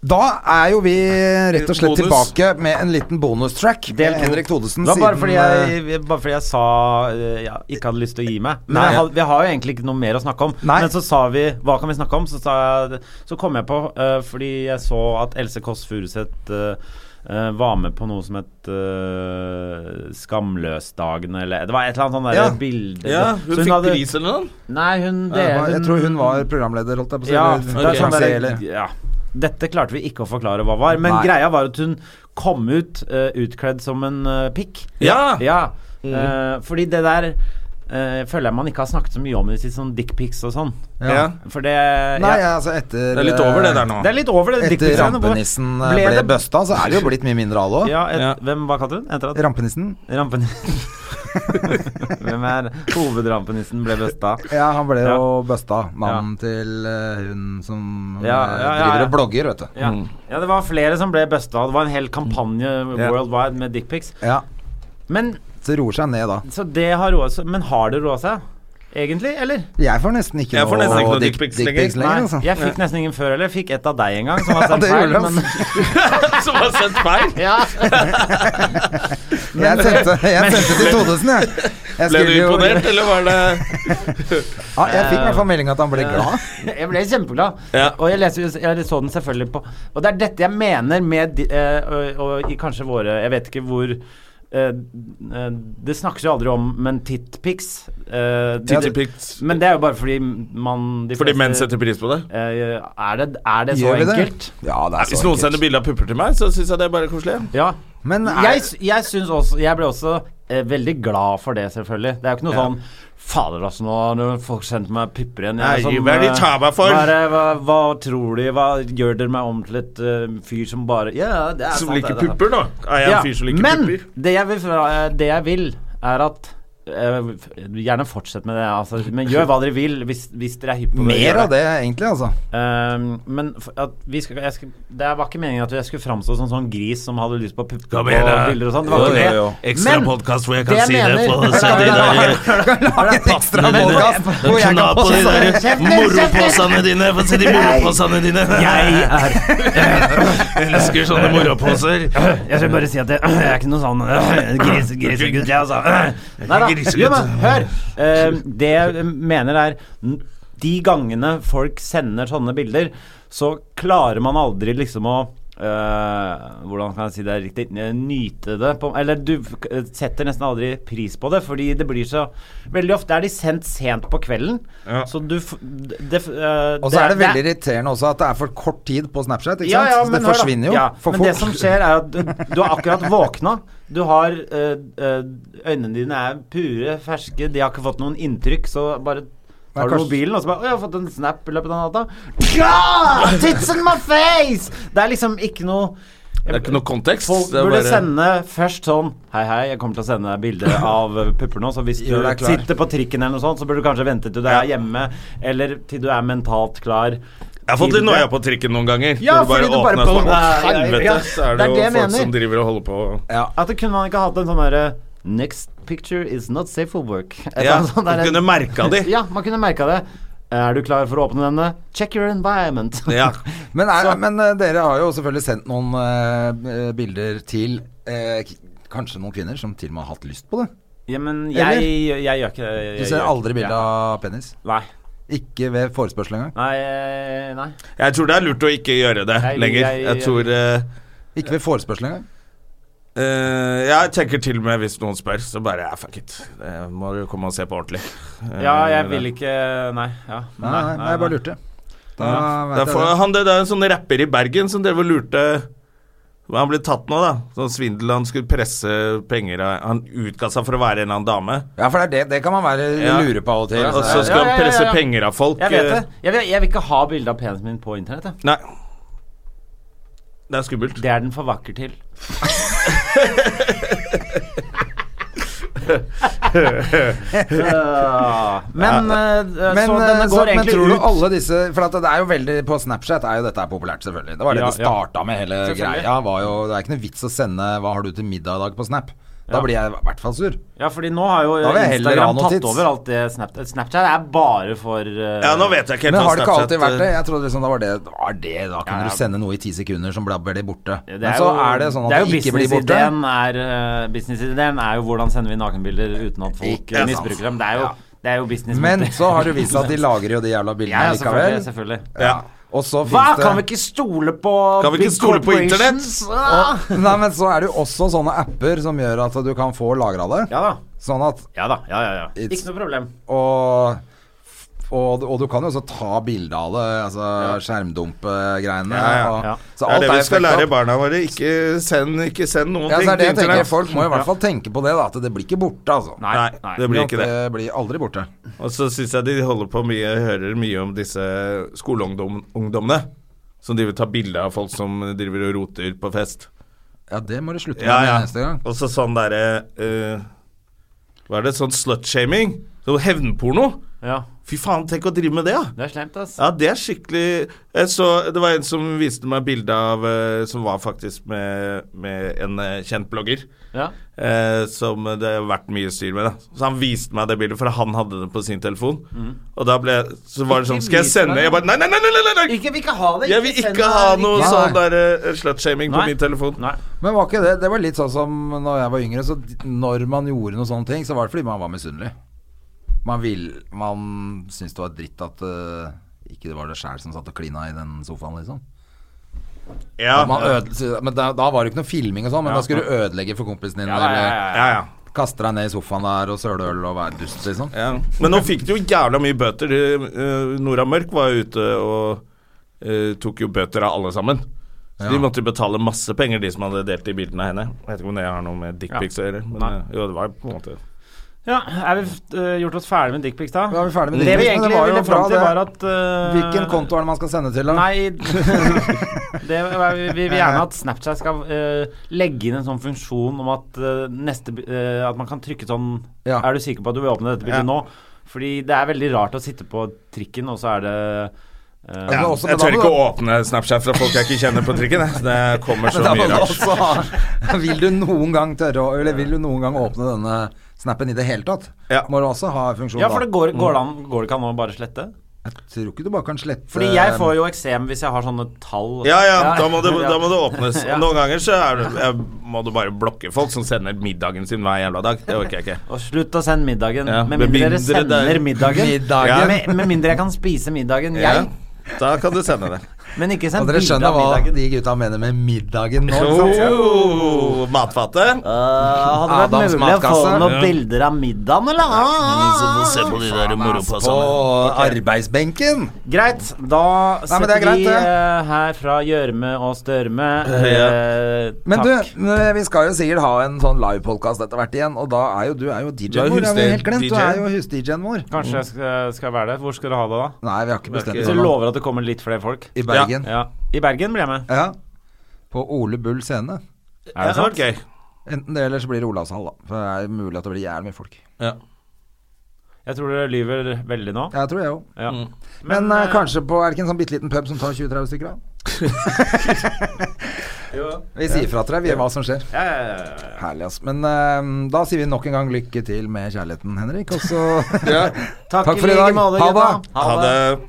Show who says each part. Speaker 1: Da er jo vi rett og slett
Speaker 2: Bonus.
Speaker 1: tilbake med en liten bonustrack
Speaker 3: Del
Speaker 1: med
Speaker 3: to.
Speaker 1: Henrik Thodesen.
Speaker 3: Det var bare
Speaker 1: siden,
Speaker 3: fordi
Speaker 1: eh,
Speaker 3: jeg, jeg- bare fordi jeg sa eh, jeg ikke hadde lyst til å gi meg. Men
Speaker 1: Nei.
Speaker 3: jeg, had- vi har jo egentlig ikke noe mer å snakke om.
Speaker 1: Nei.
Speaker 3: Men så sa vi 'hva kan vi snakke om', så, sa jeg, så kom jeg på eh, fordi jeg så at Else Kåss Furuseth eh, eh, var med på noe som het eh, Skamløsdagen, eller Det var et eller annet sånt der
Speaker 2: Ja.
Speaker 3: bilde
Speaker 2: Ja, hun
Speaker 3: Så
Speaker 2: fikk
Speaker 3: hadde-
Speaker 2: pris eller noe?
Speaker 3: Nei, hun
Speaker 1: det var-
Speaker 3: delte
Speaker 1: eh, jeg tror hun var programleder, holdt jeg på å si.
Speaker 3: ja,
Speaker 1: eller
Speaker 3: det er sånn
Speaker 1: konferansier,
Speaker 3: der,
Speaker 1: eller-
Speaker 3: ja. Dette klarte vi ikke å forklare hva var, men
Speaker 1: Nei.
Speaker 3: greia var at hun kom ut eh, utkledd som en eh, pikk.
Speaker 2: Ja.
Speaker 3: ja. Eh, fordi det der eh, føler jeg man ikke har snakket så mye om i sitt sånn dickpics og sånn.
Speaker 1: Ja.
Speaker 2: Ja.
Speaker 3: For det
Speaker 1: Nei,
Speaker 3: ja.
Speaker 1: altså etter eh,
Speaker 2: Det er litt over det der nå.
Speaker 3: Det er litt over det
Speaker 1: Etter
Speaker 3: dickpicsene. Hvor-
Speaker 1: rampenissen eh,
Speaker 3: ble
Speaker 1: ble,
Speaker 3: det-
Speaker 1: bøsta, så er det jo blitt mye mindre av det òg.
Speaker 3: Ja, et,
Speaker 2: Ja.
Speaker 3: Hvem hva kalte hun? Etter at
Speaker 1: Rampenissen?
Speaker 3: rampen... hvem er hovedrampenissen ble bøsta?
Speaker 1: Ja, han ble
Speaker 3: Ja.
Speaker 1: jo bøsta. Mannen til eh, hun som eh,
Speaker 3: Ja, ja, ja, ja.
Speaker 1: driver og blogger, vet du.
Speaker 3: Ja. ja, det var flere som ble bøsta. Det var en hel kampanje worldwide med dickpics.
Speaker 1: Ja,
Speaker 3: Men
Speaker 1: Så roer seg ned, da.
Speaker 3: Så det har roa seg. Men har det roa seg? Egentlig, eller?
Speaker 1: Jeg får nesten ikke
Speaker 2: Jeg får nesten ikke noe
Speaker 1: dick-
Speaker 2: dickpics
Speaker 1: dick
Speaker 2: lenger.
Speaker 1: pics lenger. altså.
Speaker 3: jeg fikk nesten ingen før heller. Jeg Fikk ett av deg en gang, som var
Speaker 1: Ja,
Speaker 3: sendt
Speaker 1: det
Speaker 3: feil.
Speaker 1: gjorde han.
Speaker 3: Men,
Speaker 2: Som har sendt feil?
Speaker 3: ja.
Speaker 1: Jeg sendte, jeg sendte til Todesen, jeg. jeg
Speaker 2: Ble du
Speaker 1: skulle jo-
Speaker 2: imponert, eller var det
Speaker 1: Ja, jeg fikk i hvert fall melding at han ble glad.
Speaker 3: Jeg ble kjempeglad.
Speaker 2: Ja.
Speaker 3: Og jeg, leser, jo- jeg så den selvfølgelig på Og det er dette jeg mener med de, eh, og, og i kanskje våre Jeg vet ikke hvor eh, eh, Det snakkes jo aldri om, men tittpics eh,
Speaker 2: Tittipics?
Speaker 3: Men det er jo bare fordi man de
Speaker 2: Fordi
Speaker 3: fleste-
Speaker 2: menn setter pris på det?
Speaker 3: eh, Er det, er det så
Speaker 1: Gjør vi det?
Speaker 3: enkelt?
Speaker 1: Ja, det er
Speaker 2: Hvis
Speaker 1: så
Speaker 2: noen sender
Speaker 1: enkelt.
Speaker 2: bilde av pupper til meg, så syns jeg det er bare koselig.
Speaker 3: Ja.
Speaker 1: Men er-
Speaker 3: jeg, s- jeg syns også Jeg ble også eh, veldig glad for det, selvfølgelig. Det er jo ikke noe sånn Fader, altså, nå har folk sendt meg pupper igjen. Jeg er
Speaker 2: Nei, hva er de
Speaker 3: eh,
Speaker 2: tar meg for?
Speaker 3: Hva, er det- hva, hva tror de? Hva gjør dere meg om til et eh, fyr som bare Ja, det er
Speaker 2: Som
Speaker 3: sant,
Speaker 2: liker
Speaker 3: det, det er sant.
Speaker 2: pupper, da. Er jeg
Speaker 3: Ja,
Speaker 2: en fyr som liker
Speaker 3: men
Speaker 2: pupper?
Speaker 3: det jeg, vil, fra- eh, det jeg vil, er at eh, f- Gjerne fortsett med det, altså, men gjør hva dere vil hvis, hvis dere er hypp på å gjøre
Speaker 1: Mer av det, egentlig, altså.
Speaker 3: Ehm, men f- at vi skal, jeg skal, det var ikke meningen at jeg skulle framstå som sånn gris som hadde lyst på pupper og bilder og sånn. Det var ikke det. Men
Speaker 2: podkast hvor jeg
Speaker 3: det jeg mener
Speaker 1: Lage en ekstra podcast hvor jeg kan poste
Speaker 2: moroposene dine. Få se de moroposene dine.
Speaker 3: Jeg er
Speaker 2: elsker sånne moroposer.
Speaker 3: Jeg skal bare si at jeg, jeg er ikke noen sånn øh, gris, grisegutt, jeg, altså. Øh. Neida.
Speaker 2: Grisegutt.
Speaker 3: Jo, men hør. Ehm, det jeg mener, er n- De gangene folk sender sånne bilder, så klarer man aldri liksom å øh, hvordan kan jeg si det er riktig eh, Nyte det på Eller du f- eh, setter nesten aldri pris på det, fordi det blir så Veldig ofte er de sendt sent på kvelden,
Speaker 2: Ja.
Speaker 3: så du f- eh, det,
Speaker 1: Og så er det veldig irriterende også at det er for kort tid på Snapchat. Ikke sant? så det
Speaker 3: men hør da.
Speaker 1: forsvinner jo
Speaker 3: Ja,
Speaker 1: for
Speaker 3: men det som
Speaker 1: fort.
Speaker 3: skjer, er at du, du har akkurat våkna. Du har eh, eh, Øynene dine er pure, ferske, de har ikke fått noen inntrykk, så bare
Speaker 1: Ja,
Speaker 3: Har du
Speaker 1: kanskje-
Speaker 3: mobilen, og så bare 'Å, jeg har fått en snap i løpet av natta'. Ja! Tits in my face! Det er liksom ikke noe
Speaker 2: Det er ikke noe kontekst.
Speaker 3: Folk
Speaker 2: det er
Speaker 3: burde
Speaker 2: bare-
Speaker 3: sende først sånn Hei, hei, jeg kommer til å sende deg bilde av eh, pupper nå, så hvis du
Speaker 1: Gjør deg klar.
Speaker 3: sitter på trikken eller noe sånt, så burde du kanskje vente til du er hjemme, eller til du er mentalt klar.
Speaker 2: Jeg har fått litt noia på trikken noen ganger.
Speaker 3: Ja,
Speaker 2: Når du bare
Speaker 3: fordi du bare-
Speaker 2: åpner og så bare,
Speaker 3: Ja, ja, ja.
Speaker 2: Helvete, så er
Speaker 3: Det er
Speaker 2: det
Speaker 3: det
Speaker 2: jo
Speaker 3: jeg
Speaker 2: folk
Speaker 3: mener.
Speaker 2: som driver og holder på.
Speaker 3: At det kunne man ikke hatt en sånn derre Next picture is not safe for work. Et
Speaker 2: Ja,
Speaker 3: eller annet sånt
Speaker 2: man
Speaker 3: derre-
Speaker 2: kunne merka de.
Speaker 3: Ja, man kunne merka det. Er du klar for å åpne denne? Check your environment.
Speaker 2: Ja.
Speaker 1: Men, er, men eh, dere har jo selvfølgelig sendt noen eh, bilder til eh, k- kanskje noen kvinner som til og med har hatt lyst på det.
Speaker 3: Ja, men
Speaker 1: Eller?
Speaker 3: jeg, jeg, gjør ikke jeg,
Speaker 1: Du ser
Speaker 3: gjør
Speaker 1: aldri
Speaker 3: ikke-
Speaker 1: bilde
Speaker 3: ja.
Speaker 1: av penis.
Speaker 3: Nei.
Speaker 1: Ikke ved forespørsel engang.
Speaker 3: Nei, eh, nei.
Speaker 2: Jeg tror det er lurt å ikke gjøre det
Speaker 3: Jeg-
Speaker 2: lenger.
Speaker 3: jeg-
Speaker 2: Jeg tror eh,
Speaker 1: Ikke ved forespørsel engang.
Speaker 2: eh, Jeg tenker til og med hvis noen spør, så bare ja, fuck it. Det må du komme og se på ordentlig. Eh,
Speaker 3: Ja, jeg vil ikke Nei. Ja.
Speaker 1: Nei, nei, nei, jeg bare lurte. Da vet
Speaker 2: Det er,
Speaker 1: jeg
Speaker 2: for,
Speaker 1: det.
Speaker 2: han, det, det er en sånn rapper i Bergen som drev og lurte Han ble tatt nå, da. Sånn svindel. Han skulle presse penger av Han utga seg for å være en eller annen dame.
Speaker 1: Ja, for det, er det, det kan man være
Speaker 2: Ja.
Speaker 1: lure på av og til.
Speaker 2: Og
Speaker 1: Altså,
Speaker 2: så skal
Speaker 3: Ja, ja, ja,
Speaker 2: han presse
Speaker 3: ja.
Speaker 2: penger av folk.
Speaker 3: Jeg vet det.
Speaker 2: eh,
Speaker 3: Jeg vil, jeg vil ikke ha bilde av penisen min på internett. Jeg.
Speaker 2: Nei. Det er skummelt.
Speaker 3: Det er den for vakker til. Øh, men eh,
Speaker 1: Men,
Speaker 3: så denne
Speaker 1: eh, så,
Speaker 3: går
Speaker 1: men
Speaker 3: egentlig
Speaker 1: tror du
Speaker 3: ut.
Speaker 1: alle disse For at det er jo veldig På Snapchat er jo dette her populært, selvfølgelig. Det var det
Speaker 3: Ja,
Speaker 1: det
Speaker 3: ja.
Speaker 1: starta med hele
Speaker 3: Selvfølgelig.
Speaker 1: greia. Var jo, det er ikke noe vits å sende 'Hva har du til middag i dag?' på Snap. Da blir jeg i hvert fall sur.
Speaker 3: Ja, fordi nå har jo
Speaker 1: Da vil jeg heller ha
Speaker 3: Instagram
Speaker 1: noe
Speaker 3: tatt
Speaker 1: tids.
Speaker 3: over alt det Snapchat Snapchat er bare for eh,
Speaker 2: Ja, nå vet jeg ikke helt
Speaker 1: Men
Speaker 2: hva
Speaker 1: har det ikke
Speaker 2: Snapchat,
Speaker 1: alltid vært det?
Speaker 2: eh,
Speaker 1: Jeg trodde liksom da var det, var det Da kunne
Speaker 3: Ja, ja.
Speaker 1: du sende noe i ti sekunder som blabber det borte.
Speaker 3: det
Speaker 1: Men så er det sånn at
Speaker 3: er
Speaker 1: det,
Speaker 3: jo
Speaker 1: ikke blir borte.
Speaker 3: businessideen Er, eh, businessideen er jo hvordan sender vi nakenbilder uten at folk
Speaker 1: Ikke
Speaker 3: eh,
Speaker 1: sant.
Speaker 3: misbruker dem. Det er jo,
Speaker 1: Ja.
Speaker 3: det er jo business.
Speaker 1: Men så har det vist seg at de lagrer jo de jævla bildene
Speaker 3: ja, ja,
Speaker 1: likevel.
Speaker 3: selvfølgelig, selvfølgelig.
Speaker 1: Ja. Og så
Speaker 3: Hva?
Speaker 1: finnes det
Speaker 3: Kan vi ikke stole på
Speaker 2: Kan vi ikke
Speaker 3: big
Speaker 2: stole på internett?
Speaker 3: corporations? Ah!
Speaker 1: og, Nei, men så er det jo også sånne apper som gjør at du kan få lagra det.
Speaker 3: Ja da.
Speaker 1: Sånn at
Speaker 3: Ja da. Ja, ja, ja.
Speaker 1: It's-
Speaker 3: Ikke noe problem.
Speaker 1: og, og, og du kan jo også ta bilde av det, altså skjermdumpe-greiene.
Speaker 2: Ja, ja,
Speaker 1: og-
Speaker 3: ja.
Speaker 1: Så
Speaker 2: det er
Speaker 1: alt
Speaker 2: det
Speaker 1: er
Speaker 2: vi
Speaker 1: jo
Speaker 2: skal
Speaker 1: fucked
Speaker 2: lære
Speaker 1: up.
Speaker 2: barna våre. Ikke send, ikke send noen
Speaker 1: Ja,
Speaker 2: ting
Speaker 1: så er det jeg
Speaker 2: til
Speaker 1: tenker.
Speaker 2: internett.
Speaker 1: Folk må i hvert fall tenke på det, da. At det blir ikke borte, altså.
Speaker 3: Nei.
Speaker 2: Nei,
Speaker 3: Nei.
Speaker 2: det blir ikke det.
Speaker 1: Det blir aldri borte.
Speaker 2: Og så syns jeg de holder på mye, hører mye om disse skoleungdommene. Som driver og tar bilde av folk som driver og roter på fest.
Speaker 1: Ja, det må du slutte med
Speaker 2: Ja, ja.
Speaker 1: neste gang.
Speaker 2: Og så sånn derre eh, Hva er det? Sånn slutshaming? Sånn hevnporno?
Speaker 3: Ja,
Speaker 2: Fy faen, tenk å drive med det, da!
Speaker 3: det er slemt, ass.
Speaker 2: Ja, det er skikkelig jeg så, Det var en som viste meg bilde av eh, Som var faktisk med, med en eh, kjent blogger.
Speaker 3: Ja.
Speaker 2: Eh, som det har vært mye styr med. Da. Så han viste meg det bildet, for han hadde det på sin telefon. Og da ble jeg- Så var det sånn Skal jeg
Speaker 3: Mm. Ikke vis
Speaker 2: sende
Speaker 3: meg
Speaker 2: Jeg bare Nei, nei, nei! nei, nei, nei.
Speaker 3: Ikke, vi ikke ha det.
Speaker 2: Jeg vil
Speaker 3: send
Speaker 2: ikke ha
Speaker 3: meg-
Speaker 2: noe
Speaker 1: Nei.
Speaker 2: sånn der uh, slutshaming på
Speaker 3: Nei.
Speaker 2: min telefon.
Speaker 3: Nei.
Speaker 1: Men var ikke det Det var litt sånn som når jeg var yngre, så d- når man gjorde noen sånne ting, så var det fordi man var misunnelig. Man vil Man syntes det var dritt at eh, ikke det var det sjæl som satt og klina i den sofaen, liksom.
Speaker 2: Ja,
Speaker 1: Man
Speaker 2: ja,
Speaker 1: øde, men da, da var det ikke noe filming og sånn, men da skulle du ødelegge for kompisen din,
Speaker 3: Ja, ja, ja, ja.
Speaker 2: ja.
Speaker 1: eller kaste deg ned i sofaen der og søle øl og være dust, liksom.
Speaker 2: ja. Men nå fikk de jo jævla mye bøter. Eh, Nora Mørk var jo ute og eh, tok jo bøter av alle sammen. Så
Speaker 1: Ja.
Speaker 2: De måtte jo betale masse penger, de som hadde delt de bildene av henne. Jeg vet ikke om det har noe med dickpics å gjøre. Men
Speaker 3: Nei.
Speaker 2: eh, jo, det var på en måte
Speaker 3: Ja, er vi eh, gjort oss ferdig med dickpics, da?
Speaker 1: Da er vi ferdig med
Speaker 3: det
Speaker 1: dickpics, men
Speaker 3: vi
Speaker 1: det
Speaker 3: egentlig
Speaker 1: var jo
Speaker 3: ville
Speaker 1: bra,
Speaker 3: fram til,
Speaker 1: det.
Speaker 3: var at eh,
Speaker 1: Hvilken konto er det man skal sende til, da?
Speaker 3: Nei det, var- Vi vi vil gjerne at Snapchat skal eh, legge inn en sånn funksjon om at eh, neste bi- eh, At man kan trykke sånn
Speaker 1: Ja.
Speaker 3: Er du sikker på at du vil åpne dette bildet
Speaker 2: Ja.
Speaker 3: nå? Fordi det er veldig rart å sitte på trikken, og så er det eh,
Speaker 1: Ja.
Speaker 2: ja,
Speaker 1: også
Speaker 2: Jeg
Speaker 1: med
Speaker 2: tør
Speaker 1: navn,
Speaker 2: ikke å
Speaker 1: da.
Speaker 2: åpne Snapchat fra folk jeg ikke kjenner på trikken. jeg. Det kommer
Speaker 1: Men
Speaker 2: så
Speaker 1: da
Speaker 2: mye
Speaker 1: må du
Speaker 2: rart.
Speaker 1: også ha- vil du noen gang tørre å Eller vil du noen gang åpne denne snappen i det hele tatt?
Speaker 2: Ja.
Speaker 1: Må du også ha funksjon
Speaker 3: Ja, for
Speaker 1: da. Mm.
Speaker 3: det går, går, det an, går det ikke an å bare slette?
Speaker 1: Jeg tror ikke du bare kan slette
Speaker 3: Fordi jeg får jo eksem hvis jeg har sånne tall.
Speaker 2: Ja, ja, da må det,
Speaker 3: Ja.
Speaker 2: da må det åpnes.
Speaker 3: Ja.
Speaker 2: Og noen ganger så er det, jeg må du bare blokke folk som sender middagen sin hver jævla dag. Det orker jeg ikke.
Speaker 3: Og slutt å sende middagen.
Speaker 2: Ja,
Speaker 3: Med
Speaker 2: med
Speaker 3: mindre
Speaker 2: mindre
Speaker 3: dere sender
Speaker 2: det er-
Speaker 3: middagen.
Speaker 1: Middagen.
Speaker 3: Ja, Med, med mindre jeg kan spise middagen,
Speaker 2: Ja,
Speaker 3: jeg.
Speaker 2: da kan du sende det.
Speaker 3: Men ikke
Speaker 1: Og
Speaker 3: send
Speaker 1: dere
Speaker 3: bilde
Speaker 1: skjønner
Speaker 3: av
Speaker 1: hva
Speaker 3: middagen.
Speaker 1: de gutta mener med middagen nå? ikke sant?
Speaker 2: Oh, matfatet.
Speaker 3: Øh, hadde det
Speaker 1: Adams
Speaker 3: vært mulig å få
Speaker 1: matkasse.
Speaker 3: noen
Speaker 2: Ja.
Speaker 3: bilder av middagen, eller?
Speaker 1: Mm,
Speaker 3: Ah.
Speaker 2: på de der
Speaker 1: På arbeidsbenken!
Speaker 3: Greit, da
Speaker 1: men
Speaker 3: setter
Speaker 1: det er greit,
Speaker 3: vi
Speaker 1: det.
Speaker 3: eh, her fra gjørme og størme. Eh,
Speaker 1: Men
Speaker 3: takk.
Speaker 1: du, n- vi skal jo sikkert ha en sånn livepodkast etter hvert igjen, og da er jo du er jo
Speaker 2: Du er
Speaker 1: DJ-en vår. Det har vi
Speaker 2: husde-
Speaker 1: helt glemt. Du
Speaker 2: DJ.
Speaker 1: er jo hus-DJ-en vår.
Speaker 3: Kanskje jeg skal, skal være det. Hvor skal du ha det, da?
Speaker 1: Nei, vi har ikke bestemt
Speaker 2: ikke-
Speaker 1: oss
Speaker 3: Hvis du
Speaker 1: ennå.
Speaker 3: lover at det kommer litt flere folk.
Speaker 1: I Bergen.
Speaker 3: Ja. I Bergen blir jeg med.
Speaker 1: Ja. På Ole Bull scene.
Speaker 2: Ja,
Speaker 3: Er det sant?
Speaker 2: ok.
Speaker 1: Enten det, eller så blir det Olavshall, da. For det er mulig at det blir jævlig mye folk.
Speaker 2: Ja.
Speaker 3: Jeg tror dere lyver veldig nå.
Speaker 1: Jeg tror jeg òg.
Speaker 2: Mm.
Speaker 3: Ja.
Speaker 1: Men,
Speaker 3: Men,
Speaker 1: eh,
Speaker 3: eh,
Speaker 1: kanskje på Er det ikke en sånn bitte liten pub som tar 20-30 stykker, da?
Speaker 2: eh,
Speaker 1: Vi sier fra til deg, vi, hva som skjer.
Speaker 3: Ja, ja, ja, ja.
Speaker 1: Herlig, ass. Men eh, da sier vi nok en gang lykke til med kjærligheten, Henrik. Og så
Speaker 2: Ja.
Speaker 3: Takk,
Speaker 1: Takk
Speaker 3: i
Speaker 1: for i
Speaker 3: like
Speaker 1: dag.
Speaker 3: måte,
Speaker 1: Ha
Speaker 3: gutta.
Speaker 1: det.
Speaker 2: Ha det.